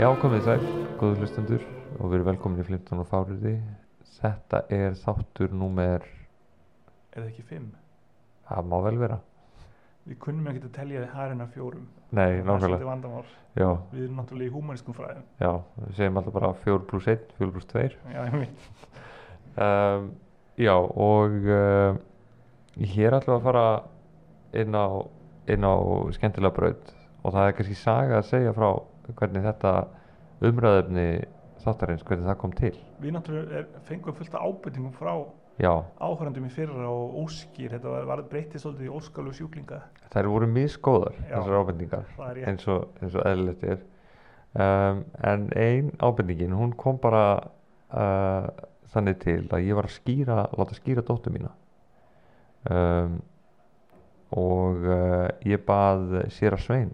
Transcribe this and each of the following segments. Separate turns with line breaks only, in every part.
Já, komið sæl, góðu hlustendur og við erum velkomin í Flimtón og Fáriði. Þetta er þáttur númer,
Er það ekki fimm?
það má vel vera.
Við kunnum ekki að telja hærinn af fjórum.
Nei,
Það er
nákvæmlega.
svolítið vandamál.
Já,
Við erum náttúrulega í humaniskum fræðum.
já, við segjum alltaf bara 4 pluss 1, 4 pluss 2.
Já, ég veit.
Um, já, og um, hér ætlum við að fara inn á, inn á skemmtilega braut og það er kannski saga að segja frá hvernig þetta umræðefni þáttarins, hvernig það kom til.
Við náttúrulega er, fengum fullt af ábyrtingum frá
Já,
áhörandum í fyrra og óskir. Þetta var, var breytið svolítið í óskalug sjúklinga.
þær voru misgóðar,
Já.
þessar ábendingar.
Það er ég.
eins og, eins og eðlilegt er um, en ein ábendingin hún kom bara uh, þannig til að ég var að skýra láta skýra dóttur mína um, og uh, ég bað sér að svein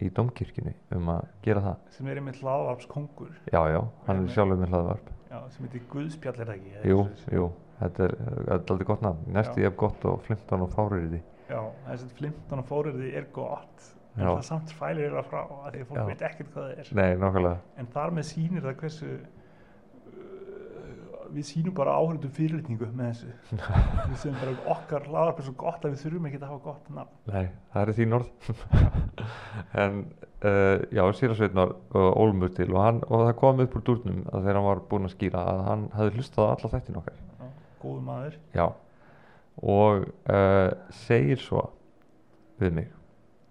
í domkirkjunni um að gera það
Sem er einmitt hlaðvarps kongur.
já, já, hann er
Einmitt.
sjálfur með hlaðvarp
Já, sem heitir Guðspjall er það ekki. eða
jú,
eitthvað svoleiðis.
jú, þetta er, þetta er aldrei gott nafn næstu
Já.
ég hef gott og flimtan og fárýrði
Já, þessi flimtan og fóriði er gott. En
Já.
það samt fælir eiginlega frá af því að fólk
Já.
veit ekkert hvað það er.
nei, nákvæmlega,
en þar með sýnir það hversu uh, við sýnum bara áhörðum fyrirlitningu með þessu við segjum bara okkar lagarpið svo gott að við þurfum ekki að hafa gott nafn
nei, það er þín orð en uh, já, síra Sveitnar uh, ólmur til og, hann, og það kom upp úr durnum að þegar hann var búinn að skýra að hann hafði hlustað á alla þættin okkar
Já, góðu maður
já og uh, segir svo við mig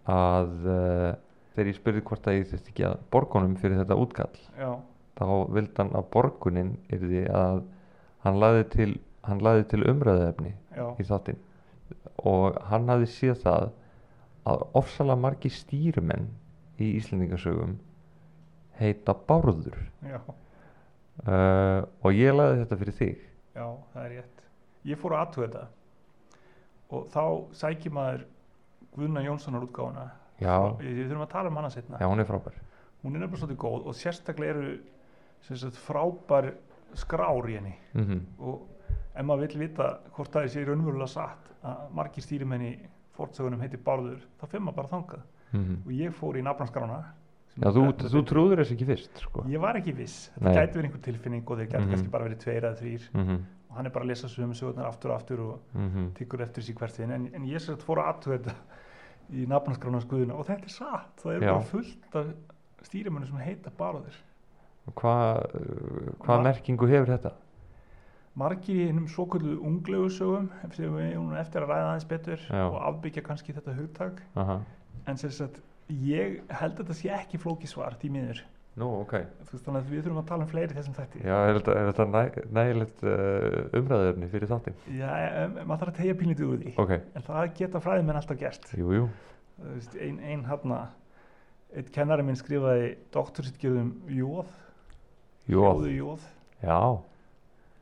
að uh, þegar ég spurði hvort að ég þurfti ekki að borgunum fyrir þetta útkall
já,
þá vildi hann að borgunin yrði að hann laði til, hann lagði til umræðefni
já,
í þáttinn og hann hafði séð það að ofsalega margi stýrumenn í Íslendingasögum heita Bárður
já,
uh, og ég laði þetta fyrir þig
já, það er rétt ég fór að aðtuga þetta og þá sækir maður Guðna Jónssonar útgáfuna
Já.
Svo- við þurfum að tala um hana setna
já, hún er frábær
hún er nefnilega svolítið góð og sérstaklega eru sem sagt, frábær skrár í henni
mm
og ef maður vill vita hvort það sé raunverulega satt að margir stýrimenni fórtsögunum heiti Bárður þá fyrir maður bara þangað
Mhm.
og ég fór í nafnanskrána sem
já,
ég
þú,
gat með
þú
betri-
trúður þess ekki fyrst sko.
ég var ekki viss, þetta
Nei.
gæti verið einhver tilfinning og þeir gæti
Mhm.
kannski bara verið tveir eða þrýr
Mhm,
og hann er bara að lesa sögum sögurnar aftur og aftur og
mhm.
tyggur eftir sér hvert þinn en, en ég sér að fór að aðtöða þetta í nafnanskrána skoðuna og þetta er satt, það er
Já.
bara fullt af stýrimennu sem heita Bárður
Og hvað uh, hvaða
Ma-
merkingu hefur þetta
margir í hennum svo kvöldu unglegu sögum sem við eigum nú eftir að ræða aðeins betur
Já.
og afbyggja kannski þetta hugtak
Aha.
en sem sagt ég held að þetta sé ekki flókið svar því miður
nú, ok
Þú veist, þannig að við þurfum að tala um fleiri í þessum þætti
já, er þetta, er þetta næ, nægilegt uh, umræðefni fyrir þáttinn
Já, em, em, maður þarf að tegja pínlítið úr því
ok,
en það geta fræðimenn alltaf gert
jú, jú
Þú veist, ein, ein hafna einn kennari minn skrifaði doktorsittgjörðum jóð
Jóð,
hljóðu jóð
já,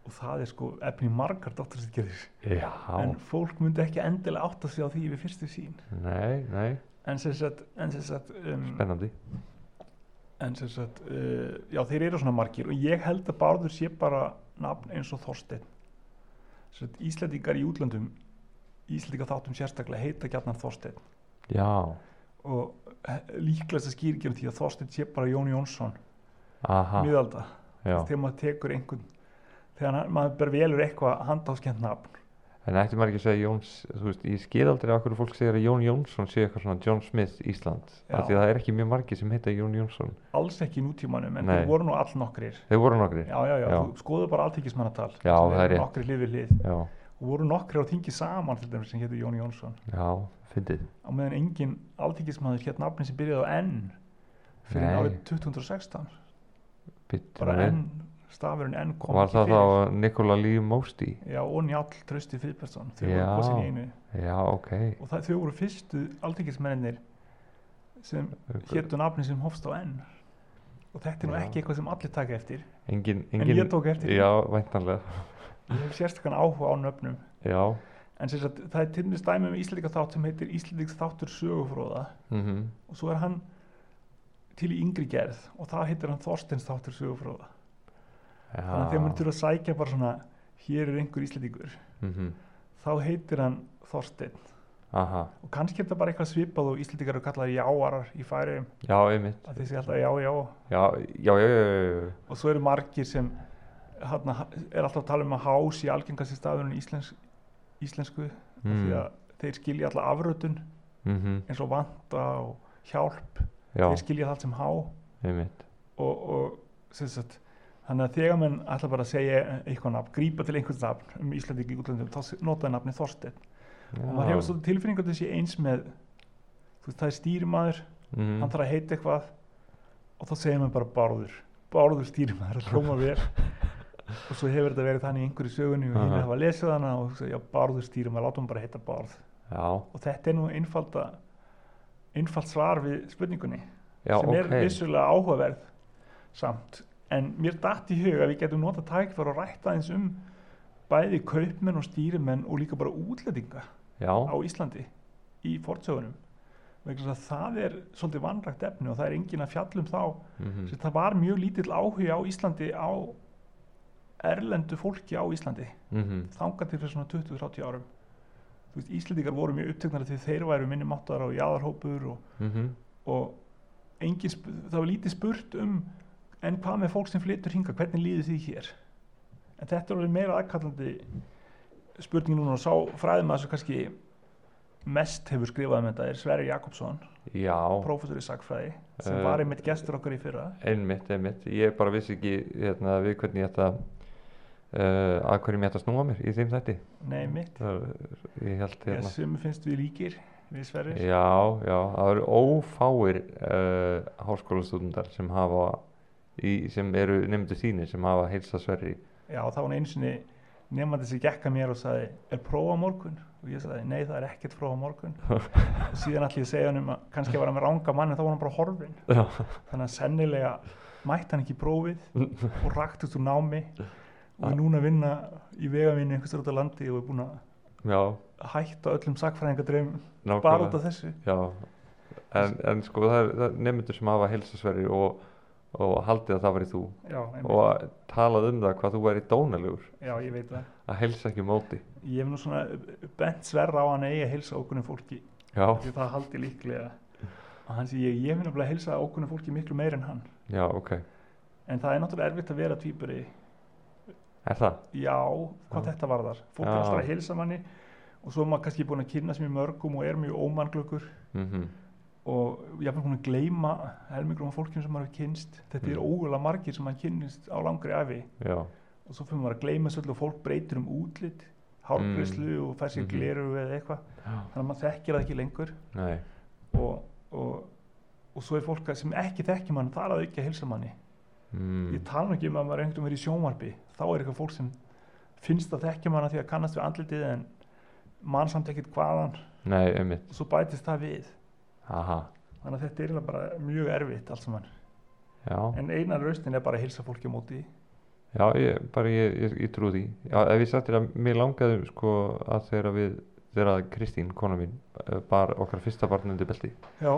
og það er sko efni í margar doktorsittgjörðir
já
en fólk myndi ekki endilega átta sig á því við fyrstu sín
nei, nei,
en sem sagt, en sem sagt um,
spennandi
en sem sagt, uh, já þeir eru svona margir og ég held að Bárður sé bara nafn eins og Þorsteinn Sem sagt, Íslendingar í útlöndum Íslendingar þáttum sérstaklega heita gjarnar Þorsteinn
Já,
og líklegast að skýringin á því að Þorsteinn sé bara Jón Jónsson
aha,
miðalda,
já.
þegar maður tekur einhvern þegar hann- maður bara velur eitthvað handafskjönd nafn
En ætti maður ekki að segja Jóns, þú veist, ég skil aldrei af hverju fólk segir að Jón Jónsson sé eitthvað svona John Smith Ísland.
Já.
Af því að það er ekki mjög margir sem heita Jón Jónsson.
alls ekki í nútímanum en
Nei.
þeir voru nú all nokkrir
Þeir voru nokkrir.
já, já, já,
Já.
þú skoðu bara alltíkismannatal
Já, það er rétt.
nokkri hlið við hlið
Já,
og voru nokkri á þingi saman til dæmis sem hétu Jón Jónsson
já, fyndið.
á meðan engin alþingismæður hér nafni sem byrjaði á N fyrir
Nei.
árið 2016
Bittu
bara
við.
N, stafurinn N kom
Var það þá Nikola Lee Mosti?
Já, og Njál Trausti Friðbertsson þau voru
Já.
kosin í einu
Já, ok.
og það, þau voru fyrstu alþingismennir sem héttu nafni sem hófst á N og þetta er
Já.
nú ekki eitthvað sem allir taka eftir
Engin,
En
engin.
ég tók eftir því.
Já, væntanlega.
ég hef sérstakann áhuga á nöfnum
Já,
en sem sagt, það er til mér stæmi um Íslendinga þátt sem heitir Íslendinga þáttur sögufróða
mhm.
og svo er hann til í yngri gerð og það heitir hann Þorsteins þáttur sögufróða þannig að þegar maður
Já,
þurfa að sækja bara svona hér er einhver íslendingur
mhm.
þá heitir hann Þorsteinn
aha,
og kannski er þetta bara eitthvað svipað og Íslendingar eru kallaði jáarar í færiðum
já, einmitt
að þeir segja alltaf já, já
já, já, já, já, já, já.
og svo eru margir sem hana, er alltaf að tala um að hás í algengast í staðunum íslensk, íslensku mm. því
Mm,
að þeir skilja alltaf afrötun
mhm,
eins og vanta og hjálp
já,
þeir skilja það allt sem há og,
einmitt
og sem sagt þannig að þegar menn ætla bara að segja eitthvað nafn, grípa til einhvers nafn um Íslandingi í útlöndum, þá notaði nafni Þorsteinn og maður hefur svolítið tilfinningu að þessi eins með þú veist, það er stýrimaður
mm,
hann þarf að heita eitthvað og þá segir maður bara bárður bárður stýrimaður að hljóma vel og svo hefur þetta verið þannig í einhverju sögunni og
Aha.
hérna hafa lesið hana og hugsa, já, bárður stýrimaður, látum bara heita bárð
já,
og þetta er nú einfalda einfalt svar við spurningunni
já,
sem er
ok
vissulega áhugaverð samt, en mér datt í hug að við getum nota tækifæri og rætta eins um bæði kaupmenn og stýrimenn og líka bara útlendinga
já,
á Íslandi í fortsögunum vegna þess að það er svolítið vanrækt efni og það er engin að fjallum þá
mhm,
mm. það var mjög lítill áhugi á Íslandi á erlendu fólki á Íslandi
mhm
þangað til fyrir svona 20-30 árum Þú veist, Íslandingar voru mjög uppteknari því þeir væru minni máttar og jáðarhópur og,
mhm,
og engin, sp- það var lítið spurt um en hvað með fólk sem flytur hinga, hvernig líður því hér en þetta er orðið meira aðkallandi spurning núna og sá fræðum að þessu kannski mest hefur skrifað um þetta er Sverri Jakobsson,
já
prófessor í sagfræði sem
Eh,
var einmitt gestur okkar í fyrra
Einmitt, einmitt, ég bara vissi ekki hérna, við hvernig ég ætta uh, að hverjum ég ætta að snúa mér í þeim þætti
nei mitt,
Það er- ég held
ég
eh, hérna
sem finnst við líkir við Sverri
Já, já, það eru ófáir uh, háskólastúdendar sem hafa í, sem eru nefndu þínir sem hafa heilsa sverri
Já, það var nú einu sinni nefnandi sem gekk að mér og sagði, er próf á morgun? Og ég sagði, nei, það er ekkert próf á morgun. og síðan allir ég að segja hann um að kannski var hann með ranga mann en þá var hann bara horfin.
Já,
Þannig að sennilega mætti hann ekki í prófið og raktist úr námi
Ah.
og er núna að vinna í vegavinni einhvers þar út á landi og er búin að
já,
hætta öllum sakfræðingadreifum bara út
nákvæmlega
af þessu.
Já, en, en sko það eru er nefndu sem hafa heilsa sverri og, og haldið að það væri þú
Já, einmitt.
og talað um það hvað þú væri dónalegur
Já, ég veit það.
að heilsa ekki á móti
Ég hef nú svona bent sverra á hann að eiga heilsa okkur um fólki
Já,
því það haldi líklega og hann sé ég, ég hef nefnilega heilsað ákveðinu fólki miklu meir en hann
já, ok
en það er náttúrulega erfitt að vera tvíburi
Er það?
já, hvað
Já.
þetta varðar fólk
Mm. Já.
er alltaf að heilsa manni og svo er maður kannski búin að kynna sem í mörgum og er mjög ómanglökur
Mm
og ég er búin að gleyma helmingrum af fólkinu sem maður hefur kynst þetta
Mm.
er ógulega margir sem maður kynnist á langri afi
Já,
og svo fyrir maður að gleyma svolítið og fólk breytir um útlit hárgrislu og fær sér
Mhm.
gleru eða eitthvað þannig að maður þekkir það ekki lengur
nei,
og, og, og svo er fólk að- sem ekki þekki mann þar að auki að heilsa manni ég
mm,
tala nú ekki um að maður einhvern verið í sjónvarpi þá er eitthvað fólk sem finnst að þekki manna því að kannast við andlitið en mann samt ekkert hvaðan
nei, einmitt
og svo bætist það við
Aha,
þannig að þetta er eiginlega bara mjög erfitt allt saman
já,
en einar raustin er bara að heilsa fólki á móti
já, ég, bara ég, ég, ég trú því já, Ef ég sattir að mér langaði sko að þegar við, þegar að Kristín, kona mín, eh, bar okkar fyrsta barn undir belti
já,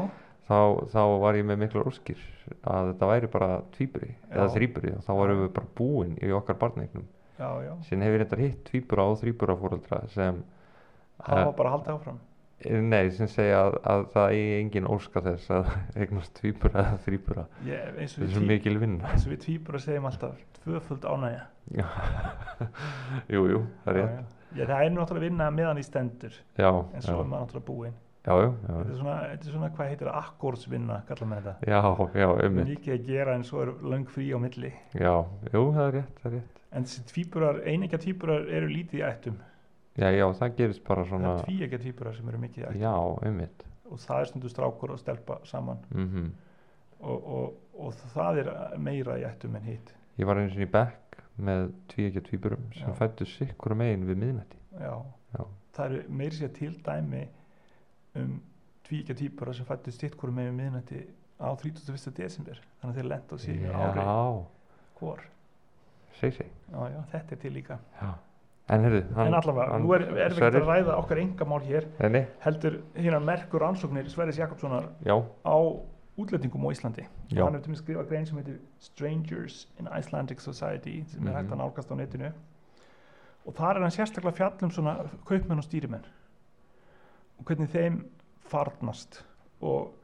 þá, þá var ég með miklar óskir að þetta væri bara tvíburi eða
Já.
þrýburi og þá varum við bara búin í okkar barneignum
já, já
síðan hefur þetta hitt tvíbura og þrýbura fóreldra sem,
það
Eh.
var bara að halda áfram
eh, nei, sem segja að, að það eigi engin óska þess að eignast tvíbura eða þrýbura
ég, eins, og
það er
við
svo
tví,
mikil vinna
eins og við tvíbura segjum alltaf tvöföld ánægja
Já. Jú, jú, það er
já,
rétt
já. Já, það er náttúrulega að vinna meðan í stendur
Já,
en
já,
svo er maður náttúrulega búinn
já, já, já.
þetta er svona, þetta er svona hvað heitir akkórsvinna, kallar maður þetta
Já, já, einmitt,
mikið að gera en svo er löng frí á milli
já, jú, það er rétt, það er rétt.
En þessi tvíburar, einegja tvíburar eru lítið í ættum.
Já, já, það gerist bara
Það
svona,
er tvíegja tvíburar sem eru mikið í ættum.
já, einmitt,
Og það er stundu strákur og stelpa saman.
mhm.
Og, og, og það er meira í ættum en hitt.
Ég var einu sinni í bekk með tvíegja tvíburum sem
Já.
fættu sikkur megin við miðnætti.
Já.
Já.
Það eru meiri sér til dæmi um tvíegja tvíburar sem fættist sitt hverju með miðnætti á 31. desember. Þannig að þeir lenda á sínu ári
Já,
hvor.
segi segi,
Já, já, þetta er til líka.
já. En heyrðu, hann...
en allavega,
hann-
nú er, er við
Sverrir-
að ræða okkar engamál hér.
Nei, nei,
Heldur hérna merkur ansóknir Sverris Jakobssonar
já,
á útlendingum á Íslandi
Já.
hann hefur til mér skrifað grein sem heitir Strangers in Icelandic Society sem er hægt að
Mhm.
nálgast á netinu og þar er hann sérstaklega fjall um svona kaupmenn og stýrimenn og hvernig þeim farnast og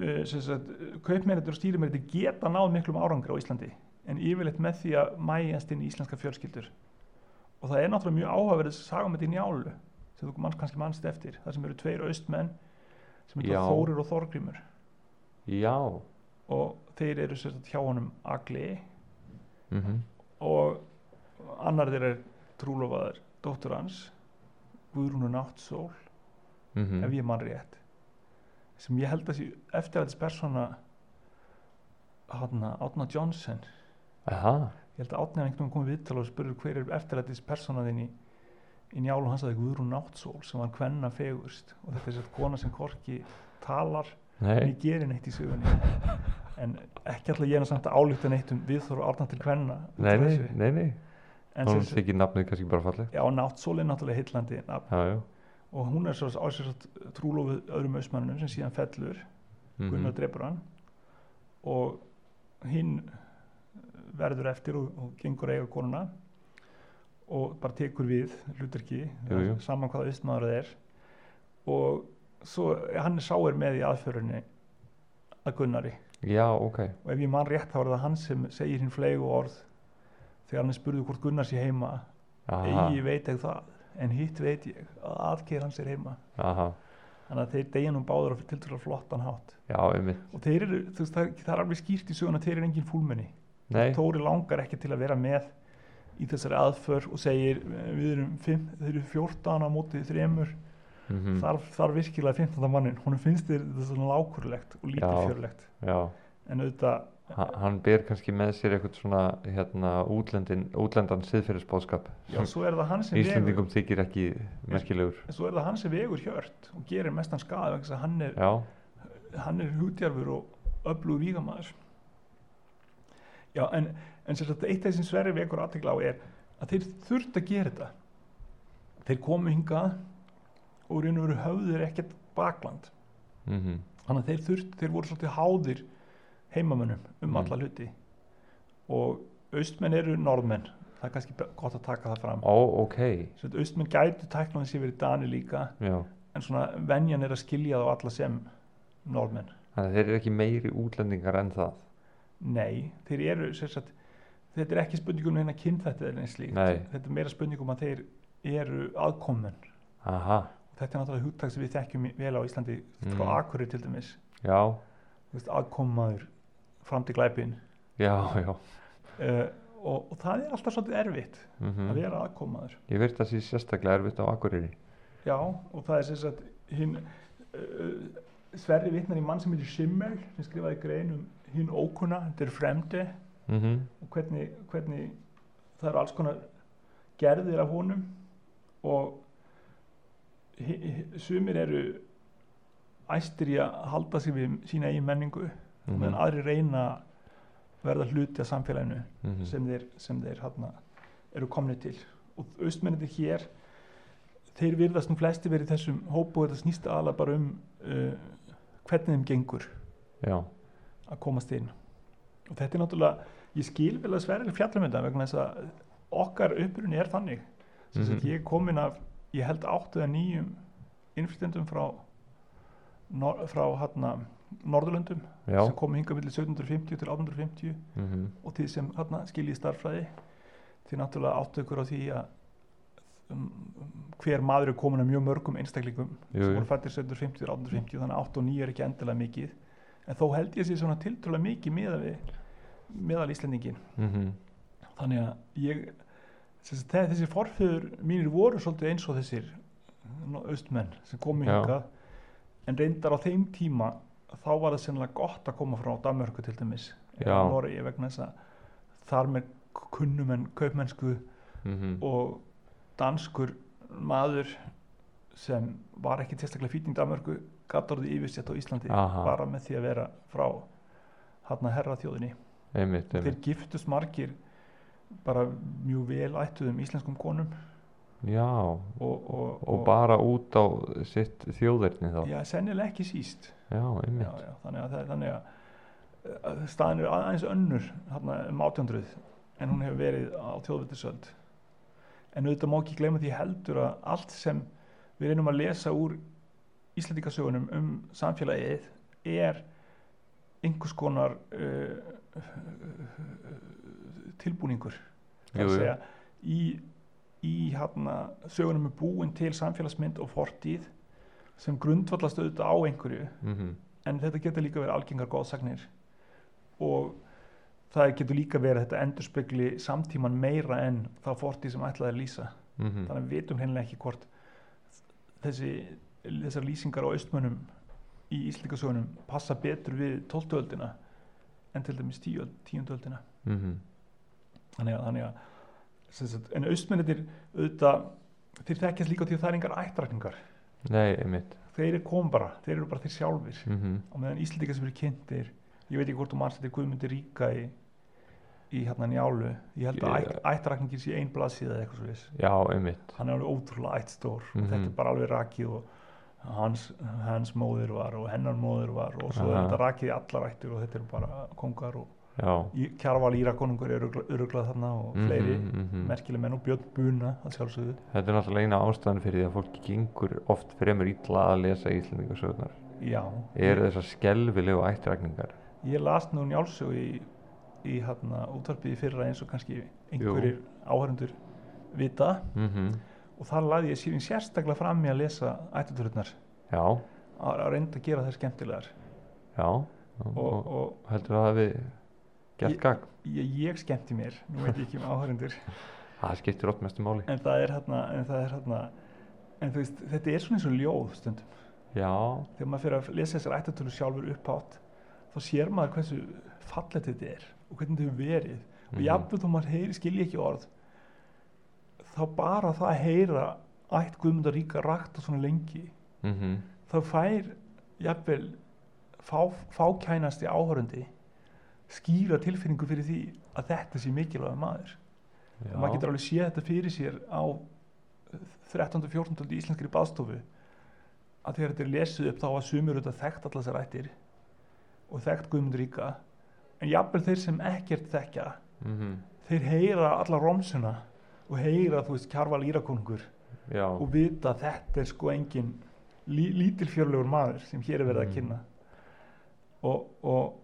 uh, sagt, kaupmennir og stýrimennir geta náð miklum árangri á Íslandi en yfirleitt með því að mæjast inn í íslenska fjölskyldur og það er náttúrulega mjög áhugaverðið að sagum þetta í njálu sem þú manns kannski mannst eftir það sem eru tveir austmenn sem eru
Já.
Þórir og Þorgrímur
já
og þeir eru sem sagt, hjá honum Agli
mm
og annar þeirra er trúlofaður dóttur hans Guðrúnu Náttsól
mhm. Mm.
ef ég mann rétt sem ég held að sé eftirlætis persóna hana, Átna Johnson
Aha,
ég held að Átna einhvern veginn komið viðtal og spurður hver er eftirlætis persóna þinn í, í njálu hans að það Guðrún Náttsól sem var hvenna fegurst og þetta er sér kona sem korki talar
nei,
en gerir neitt í sögunni en ekki alltaf ég er nú samt að álíta neitt um viðþóru Átna til hvenna
nei, nei, nei, nei.
en
Hún
sér,
þykir nafnið kannski bara fallegt.
já, Náttsól er náttúrulega heillandi nafn
Já, já.
og hún er svo á sér svo trúlófið öðrum ausmannunum sem síðan fellur
mhm.
Gunnar drefur hann og hinn verður eftir og, og gengur að eiga konuna og bara tekur við hlutarki,
Jú, jú.
saman hvaða austmaður það er og svo hann sá er með í aðförinni að Gunnari
Já, ok.
og ef ég man rétt þá er það hann sem segir hinn flegu orð þegar hann er spurði hvort Gunnar sé heima
Aha,
eigi veit ég það en hitt veit ég að aðkeir hans er heima
aha.
þannig að þeir degja nú báður á tiltrúlega flottan hátt
Já, einmitt.
og þeir eru, þú veist, það, er- það er alveg skýrt í söguna að þeir eru engin fúlmenni
Nei,
Tóri langar ekki til að vera með í þessari aðför og segir eh, við erum fimm, þeir eru 14 á móti þremur,
mhm,
þarf, þarf virkilega 15 mannin, hún finnst þeir þetta svona lákurlegt og lítið
Já.
fjörlegt
já.
en auðvitað,
Ha- Hann ber kannski með sér eitthvað svona, hérna, útlendin, útlendan siðferðisbóðskap.
já, svo er það hann sem vegur,
Íslendingum þykir ekki merkilegur.
svo er það hann sem vegur hjört og gerir mestan skað vegna þess að hann er
Já,
hann er hugdjarfur og öflugur vígamaður já en, en sem sagt eitt af þessum sverri vekur aðtekla á er að þeir þurft að gera þetta þeir komu hingað og í raun og veru höfður ekkert bakland
mhm,
þannig að þeir þurft, þeir voru svolítið háðir heimamönnum um
Mm.
alla hluti og austmenn eru norðmenn það er kannski be- gott að taka það fram
Ó, ok.
Sem sagt, austmenn gætu tæknaði sér verið dani líka
Já.
en svona venjan er að skilja þá alla sem norðmenn
Þannig að þeir eru ekki meiri útlendingar en það.
Nei, þeir eru sem sagt, þetta er ekki spurningum um hérna kynþætti eða neins slíkt,
Nei.
þetta er meira spurningum um að þeir eru aðkomin
Aha,
þetta er náttúrulega hugtak sem við þekkjum í- vel á Íslandi
Mm.
frá Akureyri til dæmis
já,
Þú veist, aðkomaður fram til glæpin
já, já.
uh, og, og það er alltaf svolítið erfitt að
mhm.
vera aðkomaður
Ég veit það sé sérstaklega erfitt á Akureyri.
já, og það er sem sagt hinn uh, Sverri vitnar í mann sem heitir Schimmel sem skrifaði grein um hinn ókunna þetta er fremdi
Mhm,
og hvernig, hvernig það eru alls konar gerðir af honum og hi- hi- sumir eru æstir í að halda sig við sína eigin menningu
mhm,
meðan aðri reyna að verða hluti af samfélaginu
mhm.
sem þeir, sem þeir hana, eru komni til og austmennir hér þeir virðast nú flesti verið í þessum hóp og þetta snýst aðalega bara um uh, hvernig þeim gengur
Já,
að komast inn og þetta er náttúrulega, ég skil vel að sverja fjallum þetta vegna þess að okkar upprunni er þannig sem sagt
Mhm.
ég er komin af, ég held áttu eða nýjum innflytjendum frá nor, frá hérna Norðurlöndum
já.
sem komu hingað millir 1750 til 1850
mhm.
og þið sem hérna skiljið starffræði þið náttúrulega áttu ykkur á því að um, um, hver maður er komin af mjög mörgum einstaklingum
Jú,
sem
jú.
voru fættir 1750 til 1850 þannig að 8 og 9 er ekki endilega mikið en þó held ég að sé svona tiltrúlega mikið meðal við meðal Íslendingin
mhm.
þannig að ég þessi, þessi forföður mínir voru svolítið eins og þessir no- austmenn sem komu
Já.
hingað en reyndar á þeim tíma þá var það sennilega gott að koma frá Danmörku til dæmis
Já.
Noregi vegna þess að þar með kunnumenn kaupmennsku
mhm.
og danskur maður sem var ekki tilstaklega fýtning Danmörku gatt orðið yfirsett á Íslandi
Aha.
bara með því að vera frá hérna herra þjóðinni
Einmitt,
þeir
einmitt.
giftust margir bara mjög vel ættuðum íslenskum konum
Já,
og, og,
og bara út á sitt þjóðerni þá.
já, sennilega ekki síst
Já,
já,
einmitt.
já, þannig að, það- þannig að, að staðin er aðeins önnur hérna, um 1800 en hún hefur verið á þjóðvöldisöld en auðvitað má ekki gleyma því heldur að allt sem við reynum að lesa úr Íslandikasögunum um samfélagið er einhvers konar uh, tilbúningur Það
Jú,
er að
jú.
segja, í, í hana, sögunum er búin til samfélagsmynd og fortíð sem grundvallast auðvitað á einhverju
mhm,
en þetta getur líka verið algengar góðsagnir og það getur líka verið að þetta endurspegli samtíman meira en það fortíð sem ætlaði að lýsa
mhm,
þannig að við vitum hreinlega ekki hvort þessi, þessar lýsingar á austmönnum í Íslandikasögunum passa betur við 12. öldina en til dæmis 10. öld- 10. öldina
mhm,
þannig að, þannig að sem sagt, en austmennitir auðvitað þeir þekkjast líka því að það er engar ættrækningar
nei, einmitt,
þeir eru kom bara, þeir eru bara þeir sjálfir
mhm,
á meðan Íslendingar sem eru kynntir ég veit ekki hvort þú manns þetta er Guðmundur Ríka í, í hérna njálu ég held að
Ég-
ætt, ættrækningir sé ein blaðsíða eða eitthvað svo
já, einmitt,
hann er alveg ótrúlega ættstór
Mhm.
og þetta er bara alveg rakið og hans, hans móðir var og hennar móðir var og svo er
Aha.
þetta rakið í allar ættir og þetta eru bara kongar og
já,
Í- Kjarval Írakonungur er öruglað þarna og fleiri
Mhm, mhm.
merkileg menn og Björn Buna að sjálfsögðu
Þetta er náttúrulega eina ástæðan fyrir því að fólki gengur oft fremur illa að lesa íslendingasögurnar.
já, Mm.
Eru þessar skelfilegu ættrækningar?
ég las nú Njálsög í, í hérna útvarpið í fyrra eins og kannski einhverjir áhörundur vita
Mm
og þar laði ég síðan sérstaklega fram í að lesa ættutururnar
Já,
að að reynda að gera þær skemmtilegar
já.
og, og
heldur það að við gert
Ég-
gagn?
ég, ég skemmti mér nú veit ég ekki um áhörundur
Það skiptir oft mestu máli.
en það er hérna en það er hérna en þú veist, þetta er svona eins og ljóð stundum
Já,
þegar maður fyrir að lesa þessar ættatölu sjálfur upphátt þá sér maður hversu fallet þetta er og hvernig þetta hefur verið og
Mhm.
jafnveg þó maður heyri, skilji ekki orð þá bara það að heyra ætt Guðmundar ríka rakta svona lengi
mhm,
þá fær jafnvel fá, fákænasti áhörundi skýra tilfinningu fyrir því að þetta sé mikilvæg maður
já.
og maður getur alveg séð þetta fyrir sér á 13. og 14. öld í íslenskri baðstofu að þegar þetta er lesið upp þá var sumur auðvitað þekkt allar sér ættir og þekkt Guðmundur Ríka en jafnvel þeir sem ekkert þekkja
Mhm,
þeir heyra alla romsuna og heyra þú veist kjarval írakonungur
já,
og vita að þetta er sko engin lí, lítilfjörlegur maður sem hér er verið að
Mm.
kynna og, og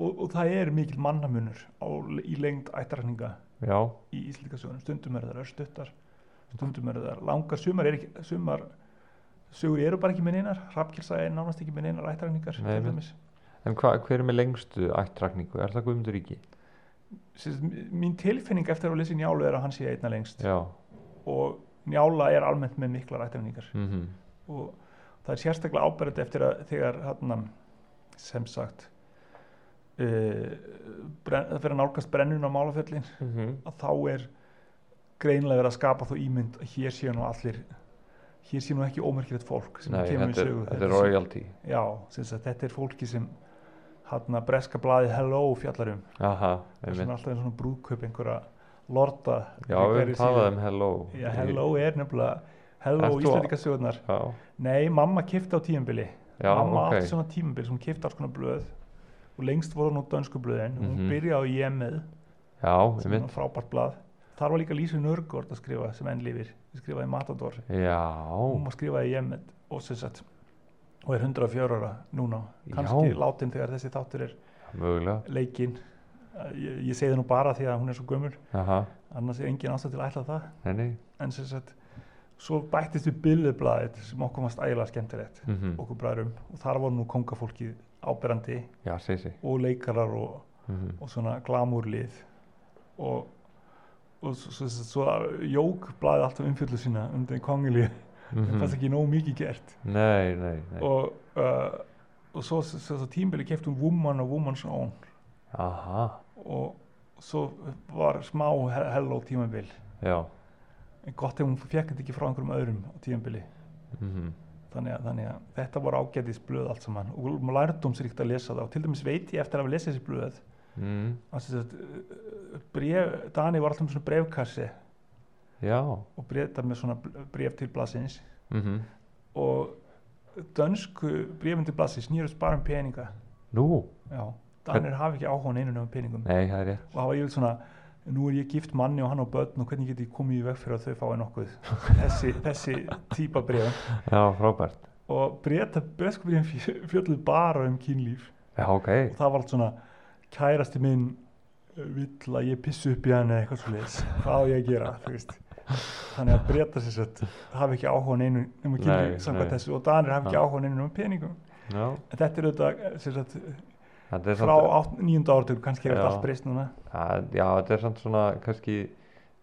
og, og það er mikill mannamunur á, í lengd ættarhninga
já,
í Íslandikasögunum stundum eru þær örstuttar stundum eru þær langar sumar, er ekki, sumar sögur eru bara ekki með neinar Hrafnkilsa er nánast ekki með neinar ættaræningar
Nei, einmitt. En hva, hver er með lengstu ættrækningu? Er það Guðmundur Ríki?
mín tilfinning eftir að lesa Njálu er að hann sé einna lengst
Já,
og Njála er almennt með miklar ættaræningar
mhm,
og það er sérstaklega áberandi eftir að þegar hann sem sagt uh, brenn, það fyrir að nálgast brennun á málaföllin
mhm,
að þá er greinlega verið að skapa þá ímynd að hér séu nú allir hér séu nú ekki ómerkilegt fólk sem
Nei,
kemur í
þetta er,
sögu
þetta er
sé-
royalty.
já, sem sagt, þetta er fólki sem hann að breska blaði Hello fjallar um
Aha,
það er svona
einmitt.
alltaf einn svona brúðkaup einhverja lorda
Já,
í
við
hverri
talaðum
síðu.
um hello.
já, Hello er nefnilega Hello
Ert þú-
Íslandika sögurnar
Já,
nei, mamma kifti á tíumbili
já,
mamma
ok.
átti svona tímbil sem hún kifti alls konar blöð og lengst voru nú dönsku blöðin
Mhm.
hún byrjaði á ég með
Já,
sem er
einmitt.
frábært blað þar var líka Lísu Nörgord að skrifa sem enn lifir Hún skrifaði í Matador
Já,
hún var skrifaði í Jemet og sem sagt og er 104 ára núna kannski
Já.
látin þegar þessi þáttur er
mögulega.
leikinn ég, ég segi það nú bara því að hún er svo gömul
Aha,
annars er engin ástæð til að ætla það
nei, nei.
en sem sagt svo bættist við billublaðið sem okkur varst ægilega skemmtilegt
Mm
okkur bræðrum og þar voru nú kongafólkið áberandi
Já, segi sig.
og leikarar og
Mm
og svona glamúrlið og, og svo, svo, svo, svo jók blaði alltaf umfjöldu sína um þeim kongilíð það fannst ekki nóg mikið gert
Nei, nei, Mhm. nei.
og, uh, og svo, svo, svo tímbili keft hún Woman og Woman's Own
Aha,
og svo var smá he- Hello tímabil
já.
en gott ef hún fekk þetta ekki frá einhverjum öðrum á tímabili
Mm
þannig að, þannig að þetta voru ágætis blöð allt saman og maður lærdómsríkt að lesa það og til dæmis veit ég eftir að hafa lesið þessi blöð
mm,
að sem sagt, uh, bref, Dani var alltaf með svona brefkassi
Já.
og breytar með svona bref til blaðsins
Mm
og dönsku brefin til blaðsins snýrust bara um peninga
Nú,
já, Danir hafa ekki áhuga á neinu nefnum peningum
nei, það er rétt.
og hafa yfir svona nú er ég gift manni og hann á börn og hvernig get ég komið í veg fyrir að þau fái nokkuð þessi, þessi típa bregðan
já, frábært
og breyta breyðskupirinn fjölluð bara um kynlíf
já, ok,
og það var allt svona kærasti minn uh, vill að ég pissu upp í hann eða eitthvað svo leiðis hvað á ég að gera þú veist þannig að breyta sér sett hafi ekki áhuga á neinu um að
Nei,
kynlíf samkvæmt
nei.
þessu og danir hafi ekki
Já.
áhuga á neinu um peningum
já
en þetta er auðvitað eh, sem sagt,
þetta er
frá
samt-
átt- níunda áratöku kannski er
Já.
þetta allt breyst núna
Það, já, þetta er samt svona kannski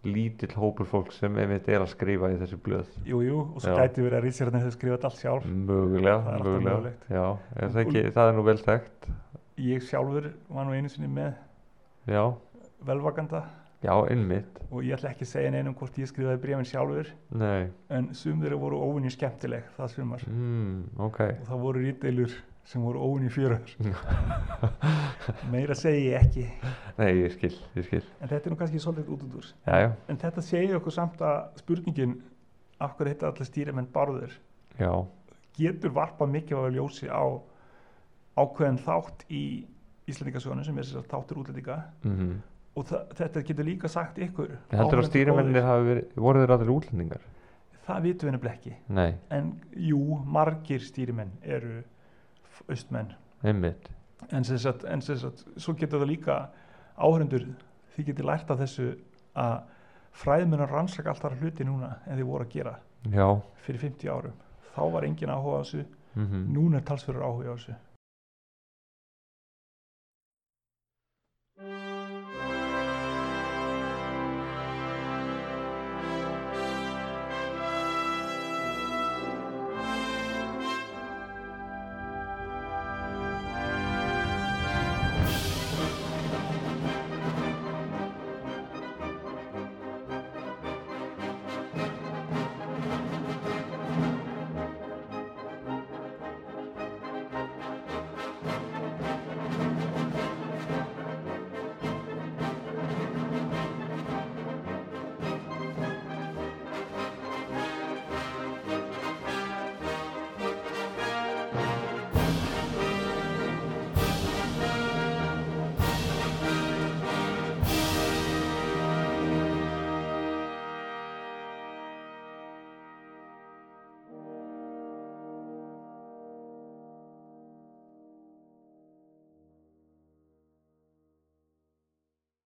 lítill hópur fólk sem einmitt er að skrifa í þessi blöð
jú, jú, og svo
Já.
gæti verið að rítsýrarnir hefur skrifað þetta allt sjálf
mögulega,
Það er alltaf
mögulega
mögulegt.
já, er það, ekki, það er nú vel þekkt
ég sjálfur var nú einu sinni með
já,
velvakanda
já, einmitt
og ég ætla ekki að segja neinum hvort ég skrifaði brefin sjálfur
nei,
en sum þeirra voru óvinni skemmtileg það sumar
mm, ok
og það voru rítdeilur sem voru óvinni fjörur meira segi ég ekki
nei, ég skil, ég skil
en þetta er nú kannski svolítið út út úr
já, já,
en þetta segir okkur samt að spurningin af hverju heita allir stýrimenn barður
já,
getur varpað mikið af ljósi á ákveðin þátt í Íslandingasögunum sem er þess að þáttur útlendinga
mhm
og þa- þetta getur líka sagt ykkur
Ég heldur að
áhorfendur
stýrimennir
góðir.
hafi verið, voru þeir allir útlendingar?
það vitum við nefnilega ekki
Nei,
en jú, margir stýrimenn eru f- austmenn
einmitt.
en sem sagt, en sem sagt svo getur það líka áhörendur þið getur lært af þessu að fræðmennar rannsaka allt þar hluti núna en þið voru að gera
Já,
fyrir 50 árum þá var engin áhuga á þessu,
mhm,
núna er talsverður áhuga á þessu